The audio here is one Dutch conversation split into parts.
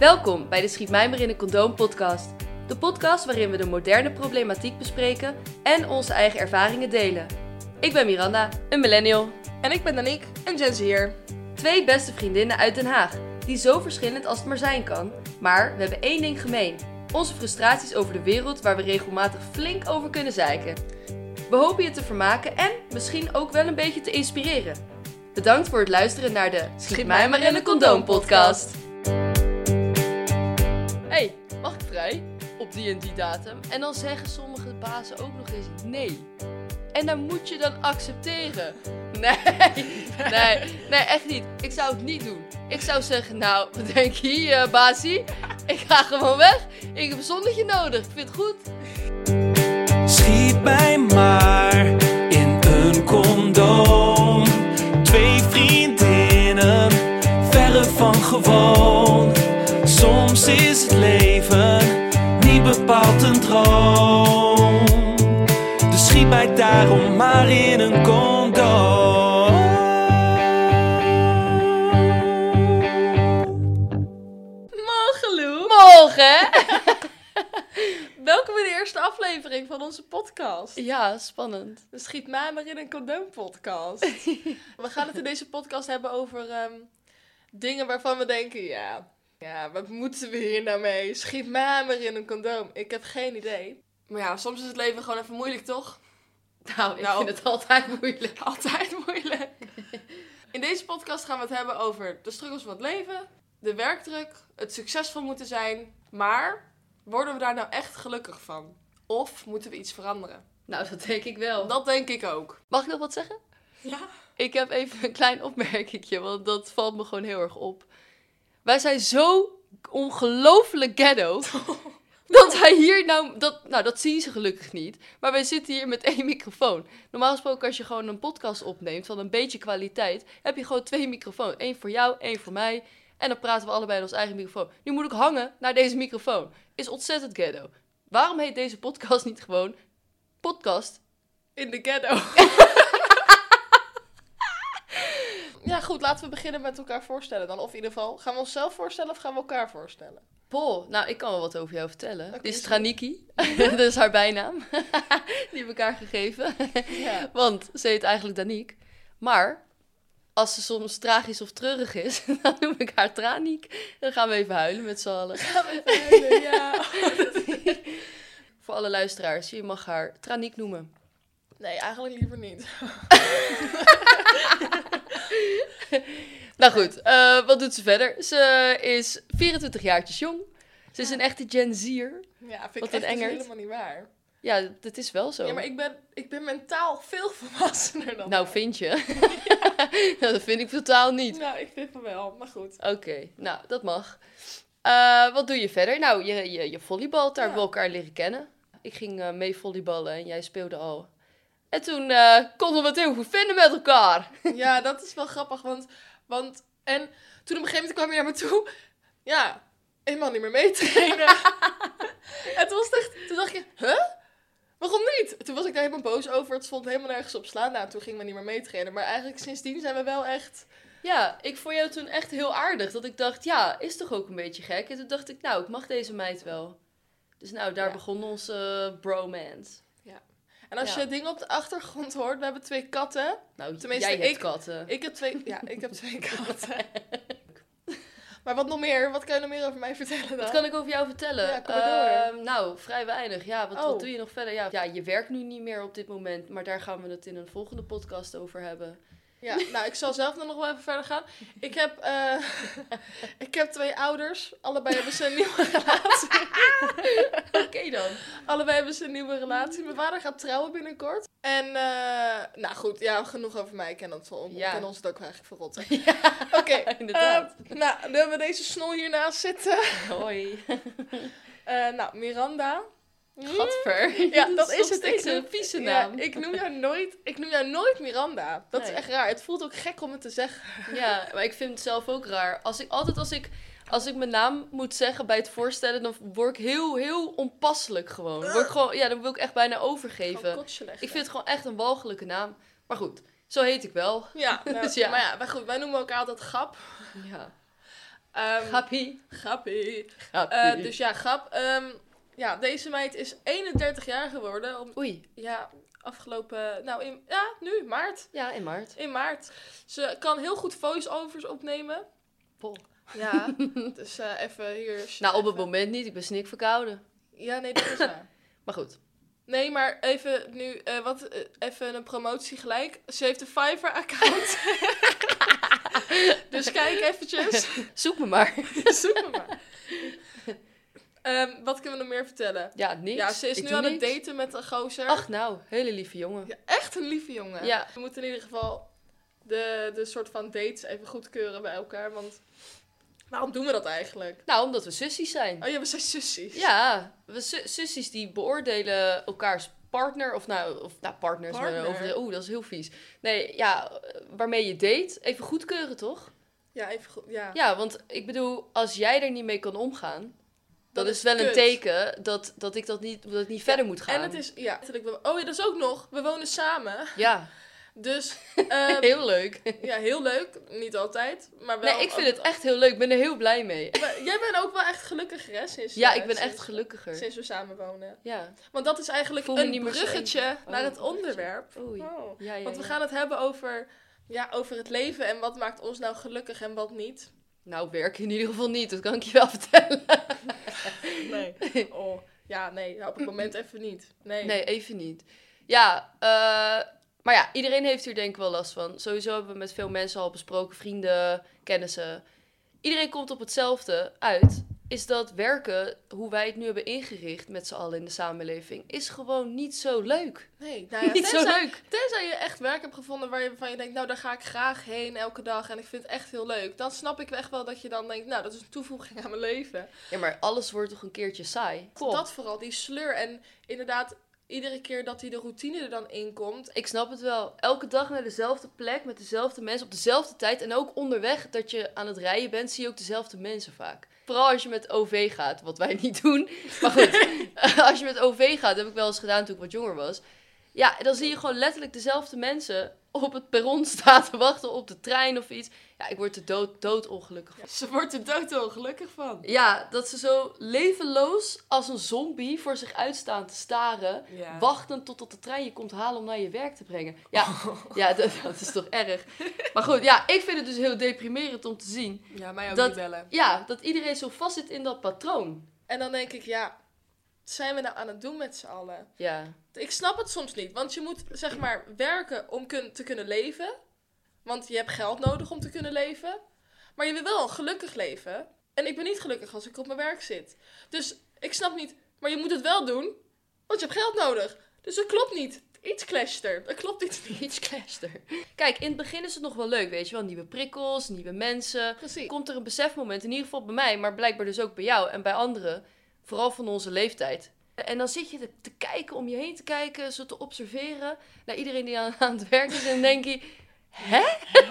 Welkom bij de Schiet mij maar in een condoom podcast. De podcast waarin we de moderne problematiek bespreken en onze eigen ervaringen delen. Ik ben Miranda, een millennial. En ik ben Danique, een Gen Z'er. Twee beste vriendinnen uit Den Haag, die zo verschillend als het maar zijn kan. Maar we hebben één ding gemeen. Onze frustraties over de wereld waar we regelmatig flink over kunnen zeiken. We hopen je te vermaken en misschien ook wel een beetje te inspireren. Bedankt voor het luisteren naar de Schiet mij maar in een condoom podcast. Hey, mag ik vrij? Op die en die datum. En dan zeggen sommige bazen ook nog eens nee. En dan moet je dan accepteren. Nee, nee, nee, echt niet. Ik zou het niet doen. Ik zou zeggen, nou, wat denk je hier, eh, basie? Ik ga gewoon weg. Ik heb een zonnetje nodig. Ik vind het goed. Schiet mij maar in een condoom. Twee vriendinnen, verre van gewoon. Soms is het leven niet bepaald een droom. Dus schiet mij daarom maar in een condoom. Mogeloe! Morgen, hè? Welkom bij de eerste aflevering van onze podcast. Ja, spannend. De Schiet mij maar in een condoom podcast. we gaan het in deze podcast hebben over ehm, dingen waarvan we denken, ja, ja, wat moeten we hier nou mee? Schiet mij maar in een condoom. Ik heb geen idee. Maar ja, soms is het leven gewoon even moeilijk, toch? Nou, ik Nou. vind het altijd moeilijk. Altijd moeilijk. In deze podcast gaan we het hebben over de struggles van het leven, de werkdruk, het succesvol moeten zijn. Maar worden we daar nou echt gelukkig van? Of moeten we iets veranderen? Nou, dat denk ik wel. Dat denk ik ook. Mag ik nog wat zeggen? Ja. Ik heb even een klein opmerkingje, want dat valt me gewoon heel erg op. Wij zijn zo ongelooflijk ghetto. Dat hij hier nou, dat, nou, dat zien ze gelukkig niet. Maar wij zitten hier met één microfoon. Normaal gesproken, als je gewoon een podcast opneemt van een beetje kwaliteit, heb je gewoon twee microfoons. Eén voor jou, één voor mij. En dan praten we allebei in ons eigen microfoon. Nu moet ik hangen naar deze microfoon. Is ontzettend ghetto. Waarom heet deze podcast niet gewoon podcast In de ghetto. ja, goed, laten we beginnen met elkaar voorstellen dan. Of in ieder geval, gaan we onszelf voorstellen of gaan we elkaar voorstellen? Paul, nou, ik kan wel wat over jou vertellen. Oké, Dit is zo. Traniki, dat is haar bijnaam. Die heb ik haar gegeven. Ja. Want ze heet eigenlijk Daniek. Maar als ze soms tragisch of treurig is, dan noem ik haar Traniek. Dan gaan we even huilen met z'n allen. ja. Voor alle luisteraars, je mag haar Traniek noemen. Nee, eigenlijk liever niet. Nou goed, eh, wat doet ze verder? Ze is 24 jaartjes jong. Ze is een echte Gen Z'er. Ja, Wat vind ik een echt dus engert. helemaal niet waar. Ja, dat is wel zo. Ja, maar ik ben, ik ben mentaal veel volwassener dan Nou, dat. vind je? Nou, dat vind ik totaal niet. Nou, ik vind van wel, maar goed. Oké, nou, dat mag. Eh, wat doe je verder? Nou, je, je, je volleybalt, daar Ja. hebben we elkaar leren kennen. Ik ging eh, mee volleyballen en jij speelde al. En toen eh, konden we het heel goed vinden met elkaar. Ja, dat is wel grappig, want, want... En toen op een gegeven moment kwam je naar me toe. Ja, helemaal niet meer mee trainen. en toen was het echt... Toen dacht ik, huh? Waarom niet? Toen was ik daar helemaal boos over. Het stond helemaal nergens op slaan. Nou, toen gingen we niet meer mee trainen. Maar eigenlijk sindsdien zijn we wel echt... Ja, ik vond jou toen echt heel aardig. Dat ik dacht, ja, is toch ook een beetje gek? En toen dacht ik, nou, ik mag deze meid wel. Dus nou, daar Ja. begon onze eh, bromance. En als Ja. je dingen op de achtergrond hoort, we hebben twee katten. Nou, Tenminste, jij hebt ik- katten. Ik heb twee... Ja, ik heb twee katten. maar wat nog meer? Wat kan je nog meer over mij vertellen dan? Wat kan ik over jou vertellen? Ja, kom maar Ehm, nou, vrij weinig. Ja, wat, wat Oh. doe je nog verder? Ja, ja, je werkt nu niet meer op dit moment, maar daar gaan we het in een volgende podcast over hebben. Ja, nou, ik zal zelf dan nog wel even verder gaan. Ik heb, eh, ik heb twee ouders. Allebei hebben ze een nieuwe relatie. Oké dan. Allebei hebben ze een nieuwe relatie. Mijn vader gaat trouwen binnenkort. En, eh, nou goed, ja, genoeg over mij. Ik ken, dat wel, Ja. ik ken ons het ook eigenlijk verrotten. Oké, inderdaad. eh, nou, dan hebben we deze snol hiernaast zitten. Hoi. Eh, nou, Miranda. Gadver. hmm? Ja, dat is nog het. steeds Ik noem- een vieze Ja, naam. Ja, ik, noem jou nooit, ik noem jou nooit Miranda. Dat Nee. is echt raar. Het voelt ook gek om het te zeggen. maar ik vind het zelf ook raar. Als ik, altijd als ik, als ik mijn naam moet zeggen bij het voorstellen, dan word ik heel, heel onpasselijk gewoon. Word ik gewoon ja, dan wil ik echt bijna Gewoon overgeven. kotselig. Ik vind het gewoon echt een walgelijke naam. Maar goed, zo heet ik wel. Ja, nou, Dus ja. maar ja, maar goed, wij noemen elkaar altijd grap. Ja. Ehm, Grappie. Grappie. Grappie. Eh, dus ja, grap. Ehm, ja, deze meid is 31 jaar geworden. Om, Oei. ja, afgelopen... Nou, in, ja, nu, maart. Ja, in maart. In maart. Ze kan heel goed voice-overs opnemen. Pol. Ja, dus eh, even hier... Nou, op het even- moment niet. Ik ben snik verkouden. Ja, nee, dat is waar. Maar goed. Nee, maar even nu, eh, wat, eh, even een promotie gelijk. Ze heeft een Fiverr-account. dus kijk eventjes. Zoek me maar. Zoek me maar. Ehm, wat kunnen we nog meer vertellen? Ja, niks. Ja, ze is Ik nu doe aan het niks. daten met een gozer. Ach nou, hele lieve jongen. Ja, echt een lieve jongen. Ja. We moeten in ieder geval de, de soort van dates even goedkeuren bij elkaar. Want waarom doen we dat eigenlijk? Nou, omdat we sussies zijn. Oh ja, we zijn sussies. Ja, we su- sussies die beoordelen elkaars partner. Of nou, of, nou partners. maar Partner. over de- Oeh, dat is heel vies. Nee, ja, eh, waarmee je date, even goedkeuren toch? Ja, even goed. Ja. Ja, want ik bedoel, als jij er niet mee kan omgaan, dan, Dat is is het wel een kut. teken dat, dat ik dat niet, dat het niet verder moet gaan. En het is, ja, natuurlijk wel- oh ja, dat is ook nog. We wonen samen. Ja, Dus, ehm, heel leuk. ja, heel leuk. Niet altijd, maar wel. Nee, ik vind het echt heel leuk. Ik ben er heel blij mee. Maar jij bent ook wel echt gelukkig, hè? Sinds, Ja, eh, ik ben sinds- echt gelukkiger. Sinds we samen wonen. Ja. Want dat is eigenlijk Voel me een niet meer zo bruggetje eenzaam. naar Oh, het bruggetje. onderwerp. Oei. Oh. Ja, ja, Want we ja. gaan het hebben over, ja, over het leven en wat maakt ons nou gelukkig en wat niet. Nou, werk in ieder geval niet. Dat kan ik je wel vertellen. Nee. Oh, ja, nee, ja, op het moment even niet. Nee. Nee, even niet. Ja, eh, maar ja, iedereen heeft hier denk ik wel last van. Sowieso hebben we met veel mensen al besproken, vrienden, kennissen. Iedereen komt op hetzelfde uit. Is dat werken, hoe wij het nu hebben ingericht met z'n allen in de samenleving, is gewoon niet zo leuk. Nee, nou ja, niet zo tenzij, leuk. tenzij je echt werk hebt gevonden waar je, van je denkt, nou daar ga ik graag heen elke dag en ik vind het echt heel leuk. Dan snap ik echt wel dat je dan denkt, nou dat is een toevoeging aan mijn leven. Ja, maar alles wordt toch een keertje saai. Kom. Dat vooral, die sleur. En inderdaad, iedere keer dat die de routine er dan in komt. Ik snap het wel. Elke dag naar dezelfde plek met dezelfde mensen op dezelfde tijd. En ook onderweg dat je aan het rijden bent, zie je ook dezelfde mensen vaak. Vooral als je met OV gaat, wat wij niet doen. Maar goed, als je met OV gaat, heb ik wel eens gedaan toen ik wat jonger was. Ja, dan zie je gewoon letterlijk dezelfde mensen op het perron staan te wachten op de trein of iets. Ja, ik word er dood, dood ongelukkig van. Ze wordt er dood gelukkig van. Ja, dat ze zo levenloos als een zombie voor zich uitstaan te staren. Ja. Wachten totdat de trein je komt halen om naar je werk te brengen. Ja, ja dat, dat is toch erg. Maar goed, ja, ik vind het dus heel deprimerend om te zien. Ja, mij ook Dat- niet bellen. Ja, dat iedereen zo vast zit in dat patroon. En dan denk ik, ja, wat zijn we nou aan het doen met z'n allen? Ja, Ik snap het soms niet, want je moet zeg maar werken om kun- te kunnen leven. Want je hebt geld nodig om te kunnen leven. Maar je wil wel een gelukkig leven. En ik ben niet gelukkig als ik op mijn werk zit. Dus ik snap niet, maar je moet het wel doen, want je hebt geld nodig. Dus dat klopt niet. Iets clasht er. Dat klopt iets niet. iets klester. Kijk, in het begin is het nog wel leuk, weet je wel. Nieuwe prikkels, nieuwe mensen. Precies. Komt er een besefmoment, in ieder geval bij mij, maar blijkbaar dus ook bij jou en bij anderen. Vooral van onze leeftijd. En dan zit je te, te kijken, om je heen te kijken, zo te observeren. Naar iedereen die aan, aan het werk is en denk je... Hè?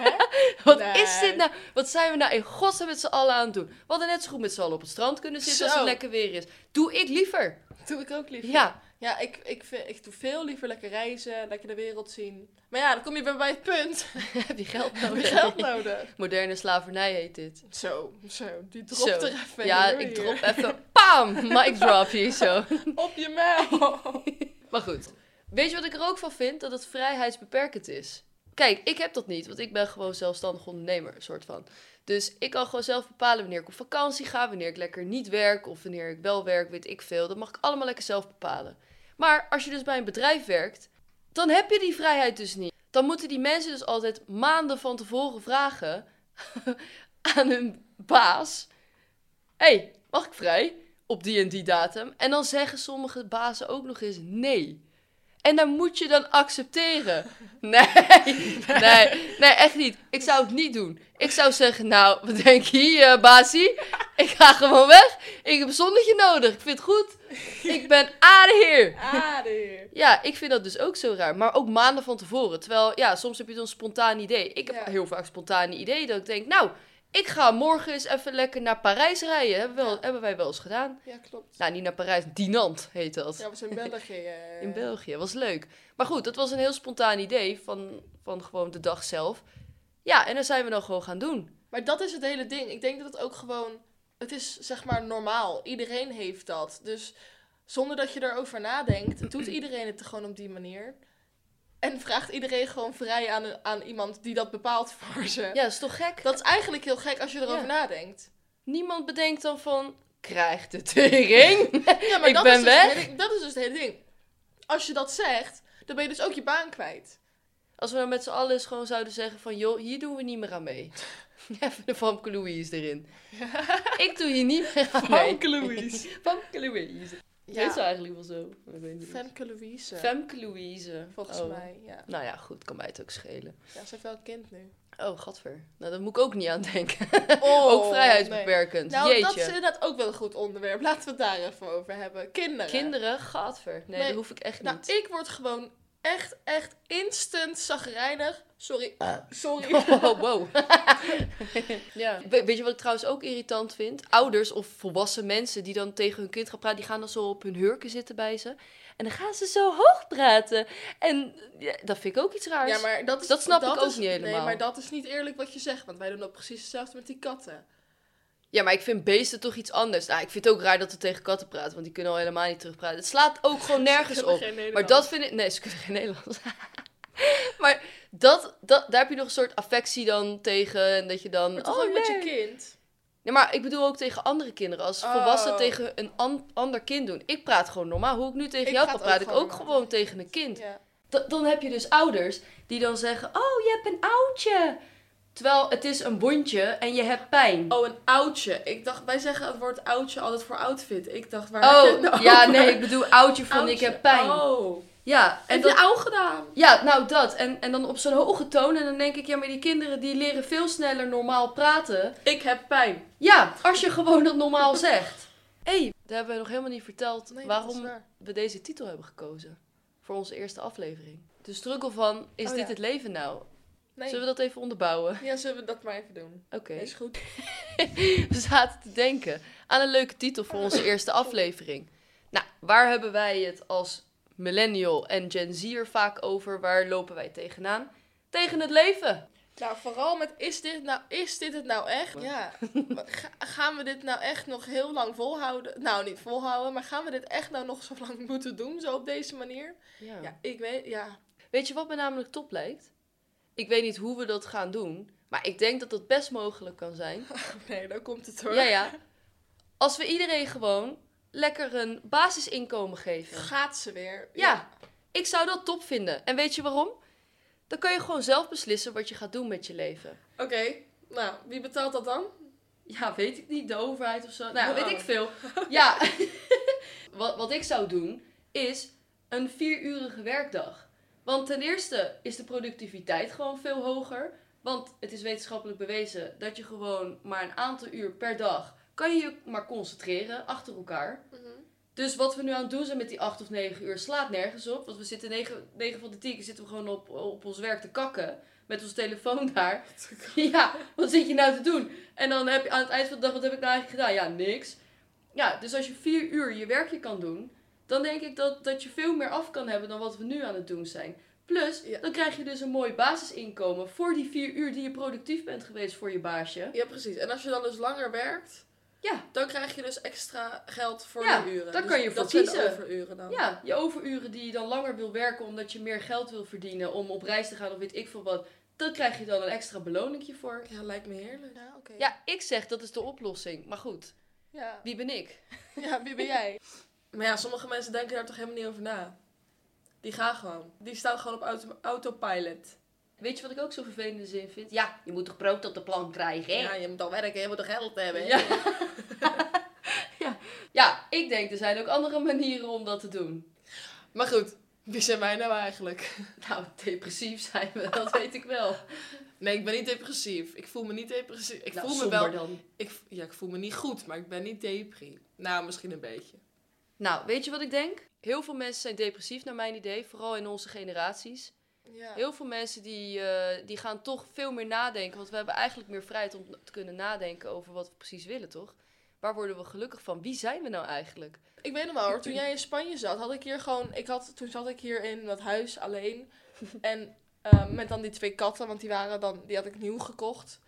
Wat Nee. is dit nou? Wat zijn we nou in godsnaam met z'n allen aan het doen? We hadden net zo goed met z'n allen op het strand kunnen zitten als Zo. het lekker weer is. Doe ik liever. doe ik ook liever. Ja, Ja, ik, ik, vind, ik doe veel liever lekker reizen, lekker de wereld zien. Maar ja, dan kom je weer bij het punt. heb je geld Heb je nodig? geld nodig? Moderne slavernij heet dit. Zo, zo, die dropt Zo. er even ja, in, hoor, ik hier. drop even. Pam! Mic drop hier zo. Op je Oh. mail. Maar goed. Weet je wat ik er ook van vind? Dat het vrijheidsbeperkend is. Kijk, ik heb dat niet, want ik ben gewoon zelfstandig ondernemer, soort van. Dus ik kan gewoon zelf bepalen wanneer ik op vakantie ga, wanneer ik lekker niet werk of wanneer ik wel werk, weet ik veel. Dat mag ik allemaal lekker zelf bepalen. Maar als je dus bij een bedrijf werkt, dan heb je die vrijheid dus niet. Dan moeten die mensen dus altijd maanden van tevoren vragen aan hun baas: hey, mag ik vrij? op die en die datum. En dan zeggen sommige bazen ook nog eens nee. En dan moet je dan accepteren. Nee, nee, nee, echt niet. Ik zou het niet doen. Ik zou zeggen, nou, wat denk je hier, basie? Ik ga gewoon weg. Ik heb een zonnetje nodig. Ik vind het goed. Ik ben aan de heer. Aardig. Ja, ik vind dat dus ook zo raar. Maar ook maanden van tevoren. Terwijl, ja, soms heb je dan een spontaan idee. Ik heb Ja. heel vaak spontane ideeën dat ik denk, nou, ik ga morgen eens even lekker naar Parijs rijden. Hebben, we wel, hebben wij wel eens gedaan. Ja, klopt. Nou, niet naar Parijs, Dinant heet dat. Ja, we zijn in België. eh. In België, was leuk. Maar goed, dat was een heel spontaan idee van, van gewoon de dag zelf. Ja, en dat zijn we dan gewoon gaan doen. Maar dat is het hele ding. Ik denk dat het ook gewoon... Het is zeg maar normaal. Iedereen heeft dat. Dus zonder dat je erover nadenkt, doet iedereen het gewoon op die manier. En vraagt iedereen gewoon vrij aan, aan iemand die dat bepaalt voor ze. Ja, is toch gek? Dat is eigenlijk heel gek als je erover Ja. nadenkt. Niemand bedenkt dan van, krijg de tering. Ja, maar Ik dat ben is dus het weg. hele- dat is dus het hele ding. Als je dat zegt, dan ben je dus ook je baan kwijt. Als we nou met z'n allen eens gewoon zouden zeggen van, joh, hier doen we niet meer aan mee. Even de Famke Louise erin. Ik doe hier niet meer aan mee. Famke Louise. Famke Louise. Ja. Heet ze eigenlijk wel zo? Ik weet niet. Femke Louise. Femke Louise. volgens Oh. mij, ja. Nou ja, goed, kan mij het ook schelen. ja. Ze heeft wel een kind nu. Oh, gadver. Nou, daar moet ik ook niet aan denken. Oh, ook nee. vrijheidsbeperkend. Nou, dat Jeetje. is inderdaad ook wel een goed onderwerp. Laten we het daar even over hebben. Kinderen. Kinderen, gadver. Nee, Nee. dat hoef ik echt Nou, niet. ik word gewoon echt, echt instant zagrijnig. Sorry. Sorry. Oh, wow. ja. We- weet je wat ik trouwens ook irritant vind? Ouders of volwassen mensen die dan tegen hun kind gaan praten, die gaan dan zo op hun hurken zitten bij ze. En dan gaan ze zo hoog praten. En ja, dat vind ik ook iets raars. Ja, maar dat, is, Dat snap ik ook is- niet Nee, helemaal. maar dat is niet eerlijk wat je zegt. Want wij doen dat precies hetzelfde met die katten. Ja, maar ik vind beesten toch iets anders. Nou, ik vind het ook raar dat we tegen katten praten, want die kunnen al helemaal niet terugpraten. Het slaat ook gewoon nergens Ze op. kunnen geen Maar Nederlands. dat vind ik... Nee, ze kunnen geen Nederlands. maar dat, dat, daar heb je nog een soort affectie dan tegen. En dat je dan... Maar toch oh, ook met je nee. kind. Nee, maar ik bedoel ook tegen andere kinderen. Als Oh. volwassenen tegen een an- ander kind doen. Ik praat gewoon normaal. Hoe ik nu tegen Ik jou praat kan praten, ook ik ook gewoon gewoon tegen een kind. Ja. Da- dan heb je dus ouders die dan zeggen... Oh, je hebt een oudje. Terwijl het is een bondje en je hebt pijn. Oh, een oudje. Ik dacht, wij zeggen het woord oudje altijd voor outfit. Ik dacht, waar heb je het Oh, nou ja, over? nee, ik bedoel oudje van Oudje. ik heb pijn. Oh. Ja, en Heb dat, je oud gedaan? ja, nou dat. En, en dan op zo'n hoge toon. En dan denk ik, ja, maar die kinderen die leren veel sneller normaal praten. Ik heb pijn. Ja, als je gewoon dat normaal zegt. Hé, hey, dat hebben we nog helemaal niet verteld Nee, dat is waarom waar. we deze titel hebben gekozen. Voor onze eerste aflevering. De struggle van, is Oh, dit ja. het leven nou? Nee. Zullen we dat even onderbouwen? Ja, zullen we dat maar even doen? Oké. Is goed. We zaten te denken aan een leuke titel voor onze eerste aflevering. Nou, waar hebben wij het als millennial en Gen Z'er vaak over? Waar lopen wij tegenaan? Tegen het leven. Nou, vooral met is dit nou, is dit het nou echt? Ja. Ga- gaan we dit nou echt nog heel lang volhouden? Nou, niet volhouden, maar gaan we dit echt nou nog zo lang moeten doen, zo op deze manier? Ja, ik weet, ja. Weet je wat me namelijk top lijkt? Ik weet niet hoe we dat gaan doen, maar ik denk dat dat best mogelijk kan zijn. Nee, daar komt het hoor. Ja, ja. Als we iedereen gewoon lekker een basisinkomen geven. Gaat ze weer? Ja, ik zou dat top vinden. En weet je waarom? Dan kan je gewoon zelf beslissen wat je gaat doen met je leven. Oké, nou, wie betaalt dat dan? Ja, weet ik niet. De overheid of zo. Nou, ja, Oh. weet ik veel. Ja. wat, wat ik zou doen, is een vierurige werkdag. Want ten eerste is de productiviteit gewoon veel hoger. Want het is wetenschappelijk bewezen dat je gewoon maar een aantal uur per dag... kan je je maar concentreren achter elkaar. Dus wat we nu aan het doen zijn met die acht of negen uur slaat nergens op. Want we zitten negen, negen van de tien keer zitten we gewoon op, op ons werk te kakken. Met ons telefoon daar. Ja, wat zit je nou te doen? En dan heb je aan het eind van de dag, wat heb ik nou eigenlijk gedaan? Ja, niks. Ja, dus als je vier uur je werkje kan doen, dan denk ik dat, dat je veel meer af kan hebben dan wat we nu aan het doen zijn. Plus, Ja. dan krijg je dus een mooi basisinkomen voor die vier uur die je productief bent geweest voor je baasje. Ja, precies. En als je dan dus langer werkt, Ja, dan krijg je dus extra geld voor Ja, de uren. daar Dus kan je voor dat zijn de kiezen. overuren dan. ja, je overuren die je dan langer wil werken omdat je meer geld wil verdienen om op reis te gaan of weet ik veel wat. Dan krijg je dan een extra beloningje voor. Ja, lijkt me heerlijk. Ja, oké. Ja, ik zeg dat is de oplossing. Maar goed, ja. wie ben ik? Ja, wie ben jij? Maar ja, sommige mensen denken daar toch helemaal niet over na. Die gaan gewoon. Die staan gewoon op auto autopilot. Weet je wat ik ook zo vervelende zin vind? Ja, je moet toch brood op de plank krijgen, hè? Ja, je moet dan werken, je moet toch geld hebben. Ja. ja. ja, ik denk er zijn ook andere manieren om dat te doen. Maar goed, wie zijn wij nou eigenlijk? Nou, depressief zijn we, dat weet ik wel. Nee, ik ben niet depressief. Ik voel me niet depressief. Ik Nou, voel me somber wel... dan. Ik, ja, ik voel me niet goed, maar ik ben niet depri. Nou, misschien een beetje. Nou, weet je wat ik denk? Heel veel mensen zijn depressief naar mijn idee, vooral in onze generaties. Ja. Heel veel mensen die, eh, die gaan toch veel meer nadenken, want we hebben eigenlijk meer vrijheid om te kunnen nadenken over wat we precies willen, toch? Waar worden we gelukkig van? Wie zijn we nou eigenlijk? Ik weet nog wel hoor, toen jij in Spanje zat, had ik hier gewoon... Ik had, toen zat ik hier in dat huis ehm, alleen. En eh, met dan die twee katten, want die waren dan... Die had ik nieuw gekocht.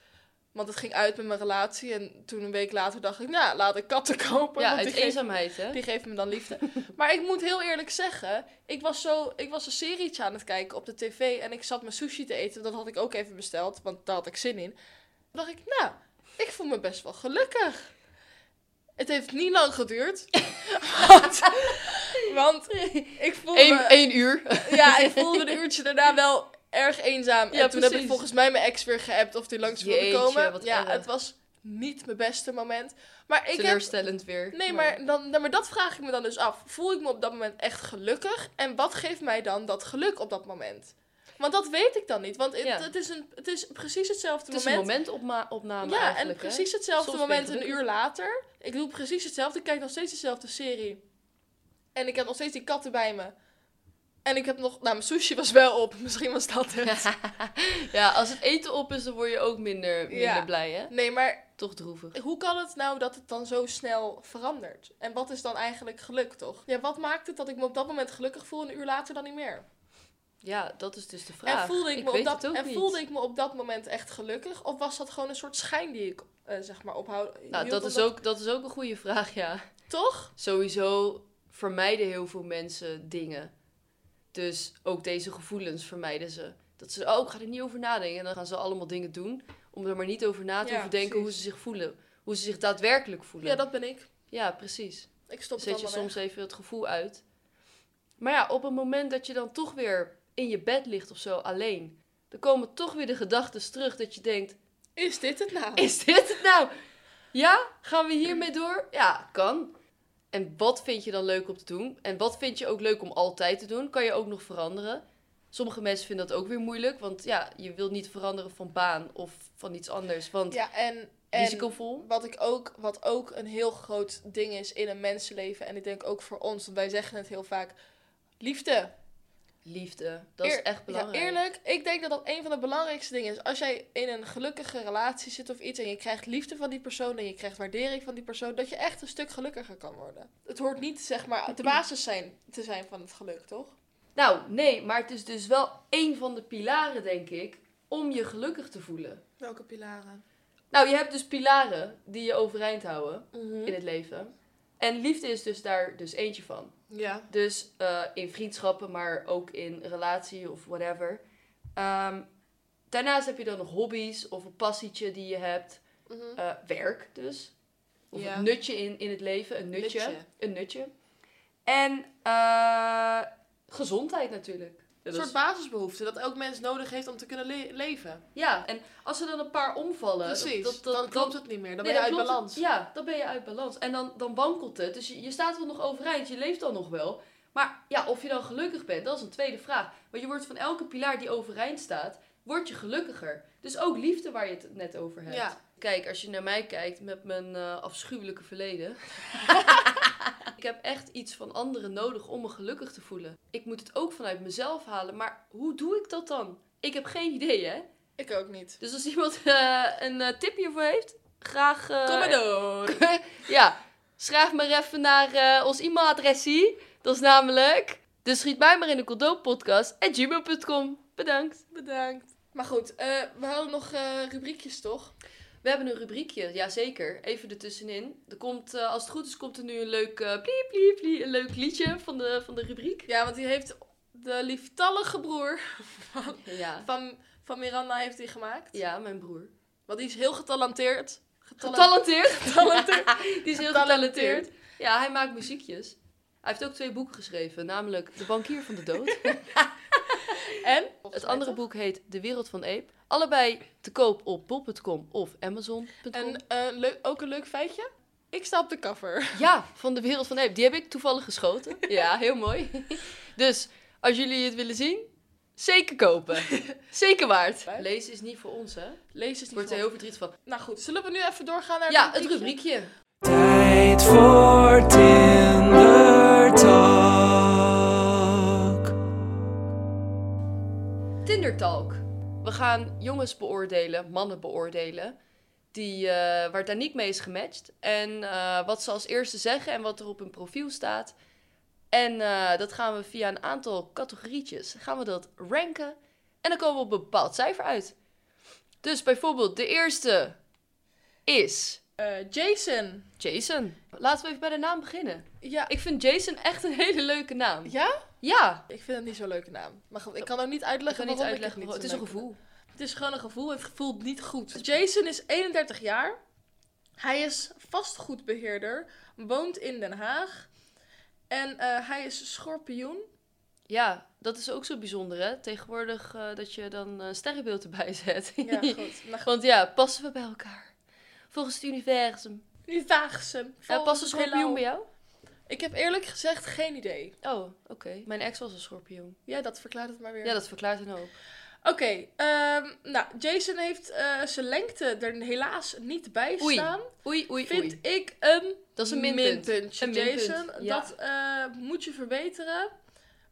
Want het ging uit met mijn relatie. En toen een week later dacht ik, nou, laat ik katten kopen. Ja, want uit die geven- eenzaamheid, hè? die geven me dan liefde. maar ik moet heel eerlijk zeggen, ik was, zo, ik was een serietje aan het kijken op de tv en ik zat mijn sushi te eten. Dat had ik ook even besteld, want daar had ik zin in. Toen dacht ik, nou, ik voel me best wel gelukkig. Het heeft niet lang geduurd. want, want ik voelde Eén, me- één uur. ja, ik voelde een uurtje daarna wel erg eenzaam. en Ja, toen heb ik precies. volgens mij mijn ex weer geappt of die langs wilde Jeetje, komen. wat Ja, erg. het was niet mijn beste moment. Maar ik heb Teleurstellend weer. Nee, maar, dan, dan- maar dat vraag ik me dan dus af. Voel ik me op dat moment echt gelukkig? En wat geeft mij dan dat geluk op dat moment? Want dat weet ik dan niet. Want het, Ja. het, is, een, het is precies hetzelfde Het is een moment. momentopname ja, en eigenlijk, hè? precies hetzelfde Soms ben je moment een gelukkig. uur later. Ik doe precies hetzelfde. Ik kijk nog steeds dezelfde serie. En ik heb nog steeds die katten bij me. En ik heb nog... Nou, mijn sushi was wel op. Misschien was dat het. ja, als het eten op is, dan word je ook minder, minder Ja. blij, hè? Nee, maar Toch droevig. hoe kan het nou dat het dan zo snel verandert? En wat is dan eigenlijk geluk, toch? Ja, wat maakt het dat ik me op dat moment gelukkig voel en een uur later dan niet meer? Ja, dat is dus de vraag. En, voelde ik, me weet op dat, het ook en niet. voelde ik me op dat moment echt gelukkig? Of was dat gewoon een soort schijn die ik, eh, zeg maar, ophoud? Nou, hield dat is, omdat- ook, dat is ook een goede vraag, ja. Toch? Sowieso vermijden heel veel mensen dingen. Dus ook deze gevoelens vermijden ze. Dat ze, oh, ik ga er niet over nadenken. En dan gaan ze allemaal dingen doen om er maar niet over na te Ja, hoeven denken precies. hoe ze zich voelen. Hoe ze zich daadwerkelijk voelen. Ja, dat ben ik. Ja, precies. Ik stop het Zet je allemaal soms soms... even het gevoel uit. Maar ja, op het moment dat je dan toch weer in je bed ligt of zo alleen, dan komen toch weer de gedachten terug dat je denkt: Is dit het nou? is dit het nou? Ja, gaan we hiermee door? Ja, kan. En wat vind je dan leuk om te doen? En wat vind je ook leuk om altijd te doen? Kan je ook nog veranderen? Sommige mensen vinden dat ook weer moeilijk, want ja, je wilt niet veranderen van baan of van iets anders, want Ja, en... en... risicovol. Wat, ik ook, wat ook een heel groot ding is in een mensenleven. En ik denk ook voor ons, want wij zeggen het heel vaak. Liefde. Liefde, dat is Eer- echt belangrijk. Ja, eerlijk, ik denk dat dat een van de belangrijkste dingen is. Als jij in een gelukkige relatie zit of iets en je krijgt liefde van die persoon en je krijgt waardering van die persoon, dat je echt een stuk gelukkiger kan worden. Het hoort niet, zeg maar, de basis zijn, te zijn van het geluk, toch? Nou, nee, maar het is dus wel één van de pilaren, denk ik, om je gelukkig te voelen. Welke pilaren? Nou, je hebt dus pilaren die je overeind houden Mhm. in het leven. En liefde is dus daar dus eentje van. Ja. Dus eh, in vriendschappen, maar ook in relatie of whatever. Ehm, daarnaast heb je dan nog hobby's of een passietje die je hebt. Mhm. Eh, werk dus. Of Ja. een nutje in, in het leven, een nutje. Nutje. Een nutje. En eh, gezondheid natuurlijk. Een Dat soort is- basisbehoefte dat elk mens nodig heeft om te kunnen le- leven. Ja, en als er dan een paar omvallen... Eh, dat- Precies. dat- dat- dan klopt het niet meer. Dan ben je uit klopt het. balans. Ja, dan ben je uit balans. En dan, dan wankelt het. Dus je, je staat wel nog overeind, je leeft dan nog wel. Maar ja, of je dan gelukkig bent, dat is een tweede vraag. Want je wordt van elke pilaar die overeind staat, word je gelukkiger. Dus ook liefde waar je het net over hebt. Ja. Kijk, als je naar mij kijkt met mijn eh, afschuwelijke verleden. ik heb echt iets van anderen nodig om me gelukkig te voelen. Ik moet het ook vanuit mezelf halen. Maar hoe doe ik dat dan? Ik heb geen idee, hè? Ik ook niet. Dus als iemand eh, een eh, tip hiervoor heeft, graag... eh, Kom maar door. ja, schrijf maar even naar eh, ons e-mailadressie. Dat is namelijk de schiet mij maar in de condoompodcast at gmail.com. Bedankt. Bedankt. Maar goed, eh, we hadden nog eh, rubriekjes, toch? We hebben een rubriekje, jazeker. Even ertussenin. Er komt, eh, als het goed is, komt er nu een leuk, eh, plie, plie, plie, een leuk liedje van de, van de rubriek. Ja, want die heeft de lieftallige broer Ja. Van, van Miranda heeft hij gemaakt. ja, mijn broer. Want die is heel getalenteerd. Getalen- Getalenteerd. Getalenteerd. Die is heel Getalenteerd. getalenteerd. Ja, hij maakt muziekjes. Hij heeft ook twee boeken geschreven, namelijk De Bankier van de Dood. en? Het andere boek heet De Wereld van Ape. Allebei te koop op bol.com of amazon.com. En eh, leuk, ook een leuk feitje. Ik sta op de cover. Ja, van de wereld van Ape. Die heb ik toevallig geschoten. Ja, heel mooi. Dus als jullie het willen zien, zeker kopen. Zeker waard. Lezen is niet voor ons, hè? Lees is niet Wordt er van- heel verdriet van. Nou goed, zullen we nu even doorgaan naar Ja, het rubriekje. Tijd voor Tinder Talk. Tinder Talk. We gaan jongens beoordelen, mannen beoordelen. Die, eh, waar Danique mee is gematcht. En eh, wat ze als eerste zeggen en wat er op hun profiel staat. En eh, dat gaan we via een aantal categorietjes gaan we dat ranken. En dan komen we op een bepaald cijfer uit. Dus bijvoorbeeld de eerste is Eh, Jason. Jason. Laten we even bij de naam beginnen. Ja. Ik vind Jason echt een hele leuke naam. Ja? Ja. Ik vind het niet zo'n leuke naam. Maar goed, ik kan ook niet Ik uitleggen kan niet waarom ik uitleggen. het waarom- niet Het is zo'n een leuke- gevoel. Het is gewoon een gevoel. Het voelt niet goed. Jason is 31 jaar. Hij is vastgoedbeheerder. Woont in Den Haag. En eh, hij is schorpioen. Ja, dat is ook zo bijzonder, hè? Tegenwoordig eh, dat je dan eh sterrenbeeld erbij zet. Ja, goed. Nou, Want ja, passen we bij elkaar? Volgens het universum. die Vaagsen. Ja, past dus een Volgens het schorpioen bij heelal. jou? Ik heb eerlijk gezegd geen idee. Oh, oké. Mijn ex was een schorpioen. Ja, dat verklaart het maar weer. Ja, dat verklaart een hoop. Oké, ehm, nou, Jason heeft eh, zijn lengte er helaas niet bij Oei, staan. Oei, oei, Vind oei. ik een Dat is een minpunt. minpuntje, Een minpunt, Jason. ja. Dat eh, moet je verbeteren,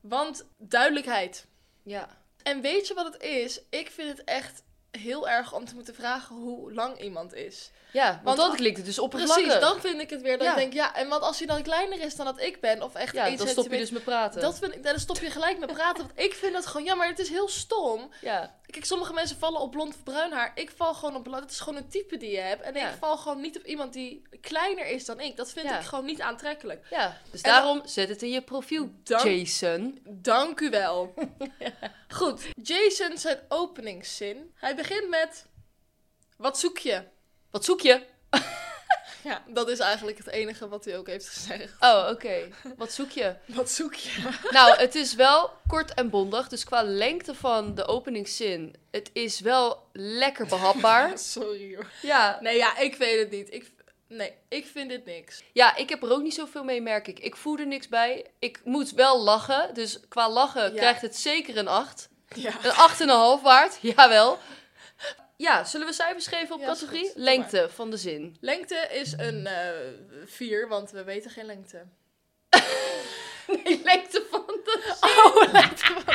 want duidelijkheid. Ja. En weet je wat het is? Ik vind het echt heel erg om te moeten vragen hoe lang iemand is. Ja, want, Want- dat klinkt het dus oppervlakkig. Precies, dan vind ik het weer dat Ja. ik denk, ja, en want als hij dan kleiner is dan dat ik ben, of echt Ja, één dan stop je centimeter- dus met praten. Dat vind ik, dan stop je gelijk met praten. Want ik vind dat gewoon, ja, maar het is heel stom. Ja, Kijk, sommige mensen vallen op blond of bruin haar. Ik val gewoon op blond. Het is gewoon een type die je hebt. En Ja. ik val gewoon niet op iemand die kleiner is dan ik. Dat vind Ja. ik gewoon niet aantrekkelijk. ja. Dus En dan- daarom zet het in je profiel, Dank- Jason. Dank u wel. Goed, Jason zijn openingszin. Hij begint met... Wat zoek je? Wat zoek je? Ja, dat is eigenlijk het enige wat hij ook heeft gezegd. Oh, oké. Wat zoek je? Wat zoek je? Nou, het is wel kort en bondig. Dus qua lengte van de openingszin, het is wel lekker behapbaar. Sorry hoor. Ja. Nee, ja, ik weet het niet. Ik, nee, ik vind dit niks. ja, ik heb er ook niet zoveel mee, merk ik. Ik voel er niks bij. Ik moet wel lachen. Dus qua lachen Ja. krijgt het zeker een 8. Ja. Een 8,5 waard, jawel. Ja, zullen we cijfers geven op Ja, is categorie? goed. Doe maar. Lengte van de zin. Lengte is een 4, want we weten geen lengte. Nee, lengte van de zin. Oh, lengte van...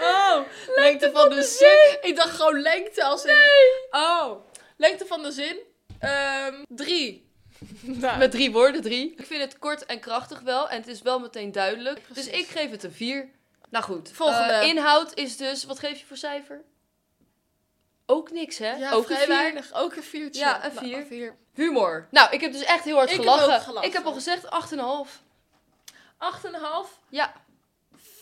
oh, lengte, van, de, zin. Ik dacht gewoon lengte als in... Oh, lengte van de zin. Ehm drie. Nou, Met drie woorden, drie. Ik vind het kort en krachtig wel. En het is wel meteen duidelijk. Precies. Dus ik geef het een vier. Nou goed. Volgende. Eh, inhoud is dus... Wat geef je voor cijfer? Ook niks, hè? ja, ook vrij een vier. weinig. Ook een viertje. Ja, een Nou, vier. Humor. Nou, ik heb dus echt heel hard Ik heb gelachen. ook gelachen. Ik heb al gezegd 8,5. Acht en een half Ja,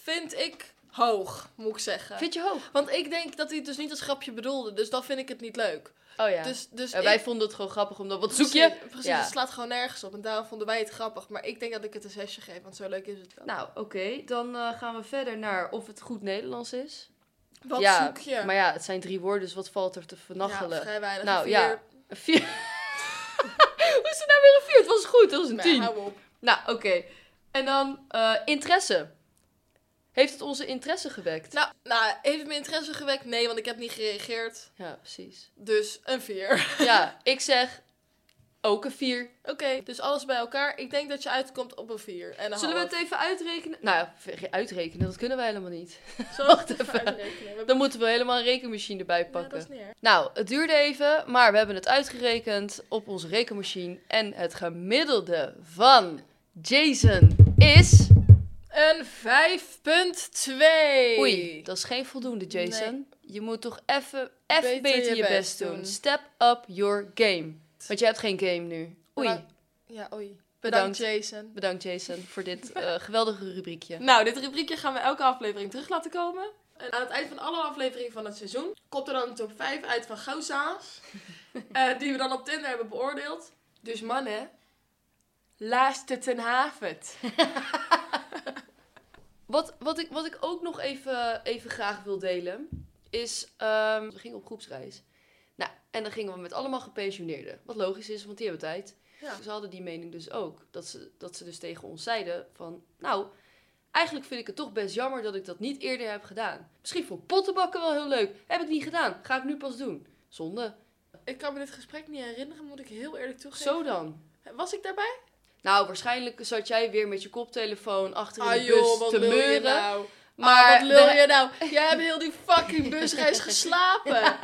vind ik hoog, moet ik zeggen. vind je hoog? Want ik denk dat hij het dus niet als grapje bedoelde. Dus dan vind ik het niet leuk. Oh ja. Dus, dus Eh, wij ik- vonden het gewoon grappig omdat... Wat zoek Precies, je? Precies, Ja. het slaat gewoon nergens op. En daarom vonden wij het grappig. Maar ik denk dat ik het een zesje geef, want zo leuk is het wel. Nou, oké. Dan eh, gaan we verder naar of het goed Nederlands is. Wat ja, zoek je? Maar ja, het zijn drie woorden, dus wat valt er te vernachelen? Ja, vrij weinig. Nou, Nou, ja. ja. Een vier. Hoe is het nou weer een vier? Het was goed, dat was een tien. hou op. Nou, oké. En dan eh, interesse. Heeft het onze interesse gewekt? Nou, nou, heeft mijn interesse gewekt? Nee, want ik heb niet gereageerd. Ja, precies. Dus een vier. Ja, ik zeg ook een vier. Oké, dus alles bij elkaar. Ik denk dat je uitkomt op een vier. En een Zullen we half. het even uitrekenen? Nou ja, v- uitrekenen, dat kunnen wij helemaal niet. Zullen we Wacht het even even. uitrekenen? We Dan moeten we helemaal een rekenmachine erbij ja, dat pakken. is niet erg. Nou, het duurde even, maar we hebben het uitgerekend op onze rekenmachine. En het gemiddelde van Jason is... Een 5.2. Oei, dat is geen voldoende, Jason. Je moet toch even beter, Beter beter je je best best doen. doen. Step up your game. Want jij hebt geen game nu. Oei, Bedankt. Ja, oei. Bedankt. Bedankt, Jason. bedankt Jason voor dit eh, geweldige rubriekje. Nou, dit rubriekje gaan we elke aflevering terug laten komen. En aan het eind van alle afleveringen van het seizoen komt er dan een top 5 uit van gauwzaans. eh, die we dan op Tinder hebben beoordeeld. Dus mannen, laatste ten havet. Wat, wat, ik, wat ik ook nog even, even graag wil delen, is... ehm, we gingen op groepsreis. Nou, en dan gingen we met allemaal gepensioneerden. Wat logisch is, want die hebben tijd. Ja. Ze hadden die mening dus ook. Dat ze, dat ze dus tegen ons zeiden van... Nou, eigenlijk vind ik het toch best jammer dat ik dat niet eerder heb gedaan. Misschien vond ik pottenbakken wel heel leuk. Heb ik niet gedaan. Ga ik nu pas doen. Zonde. Ik kan me dit gesprek niet herinneren, moet ik heel eerlijk toegeven. Zo dan. Was ik daarbij? Nou, waarschijnlijk zat jij weer met je koptelefoon achter in de Ah bus joh, wat te lul je meuren. nou? Maar Maar wat lul we- je nou? Jij hebt heel die fucking busreis geslapen.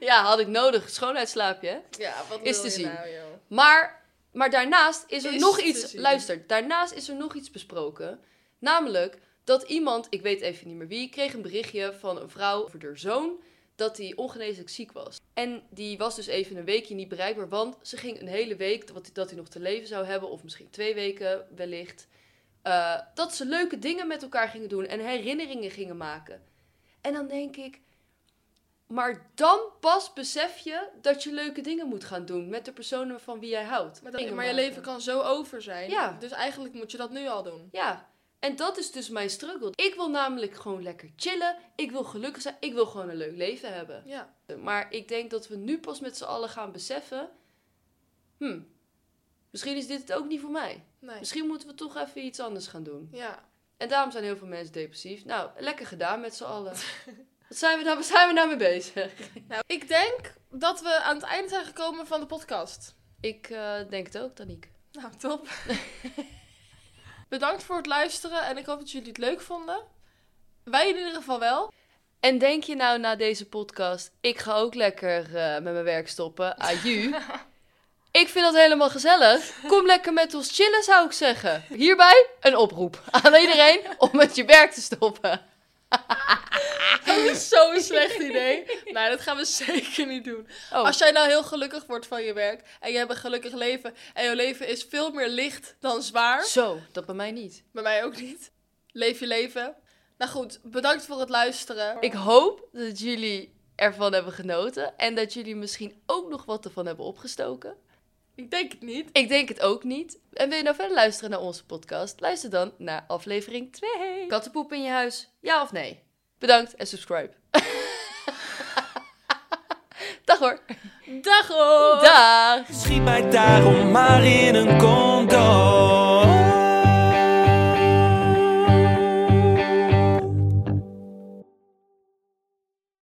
Ja, had ik nodig. Schoonheidsslaapje, hè? Ja, wat lul Is te je zien. nou joh? Maar, maar daarnaast is er Is nog te iets. zien. Luister, daarnaast is er nog iets besproken. Namelijk dat iemand, ik weet even niet meer wie, kreeg een berichtje van een vrouw over haar zoon. dat hij ongeneeslijk ziek was. En die was dus even een weekje niet bereikbaar, want ze ging een hele week wat- dat hij nog te leven zou hebben, of misschien twee weken wellicht, eh, dat ze leuke dingen met elkaar gingen doen en herinneringen gingen maken. En dan denk ik, maar dan pas besef je dat je leuke dingen moet gaan doen met de personen van wie jij houdt. Maar, dat- Dingen maar je maken. leven kan zo over zijn. Ja. Dus eigenlijk moet je dat nu al doen. Ja, en dat is dus mijn struggle. Ik wil namelijk gewoon lekker chillen. Ik wil gelukkig zijn. Ik wil gewoon een leuk leven hebben. Ja. Maar ik denk dat we nu pas met z'n allen gaan beseffen. Hm, misschien is dit het ook niet voor mij. Nee. Misschien moeten we toch even iets anders gaan doen. Ja. En daarom zijn heel veel mensen depressief. Nou, lekker gedaan met z'n allen. Wat zijn we daar, waar zijn we daarmee bezig? Nou, ik denk dat we aan het eind zijn gekomen van de podcast. Ik eh, denk het ook, Taniek. Nou, top. Bedankt voor het luisteren en ik hoop dat jullie het leuk vonden. Wij in ieder geval wel. En denk je nou na deze podcast, ik ga ook lekker eh, met mijn werk stoppen, aju. ik vind dat helemaal gezellig. Kom lekker met ons chillen, zou ik zeggen. Hierbij een oproep aan iedereen om met je werk te stoppen. Dat is zo'n slecht idee. Nou, dat gaan we zeker niet doen. Oh, Als jij nou heel gelukkig wordt van je werk en je hebt een gelukkig leven en jouw leven is veel meer licht dan zwaar, zo, dat bij mij niet. bij mij ook niet, leef je leven. Nou goed, bedankt voor het luisteren. Ik hoop dat jullie ervan hebben genoten en dat jullie misschien ook nog wat ervan hebben opgestoken. ik denk het niet. Ik denk het ook niet. En wil je nou verder luisteren naar onze podcast? Luister dan naar aflevering 2. Kattenpoep in je huis, ja of nee? Bedankt en subscribe. Dag hoor. Dag hoor! Dag. Schiet mij daarom maar in een condoom.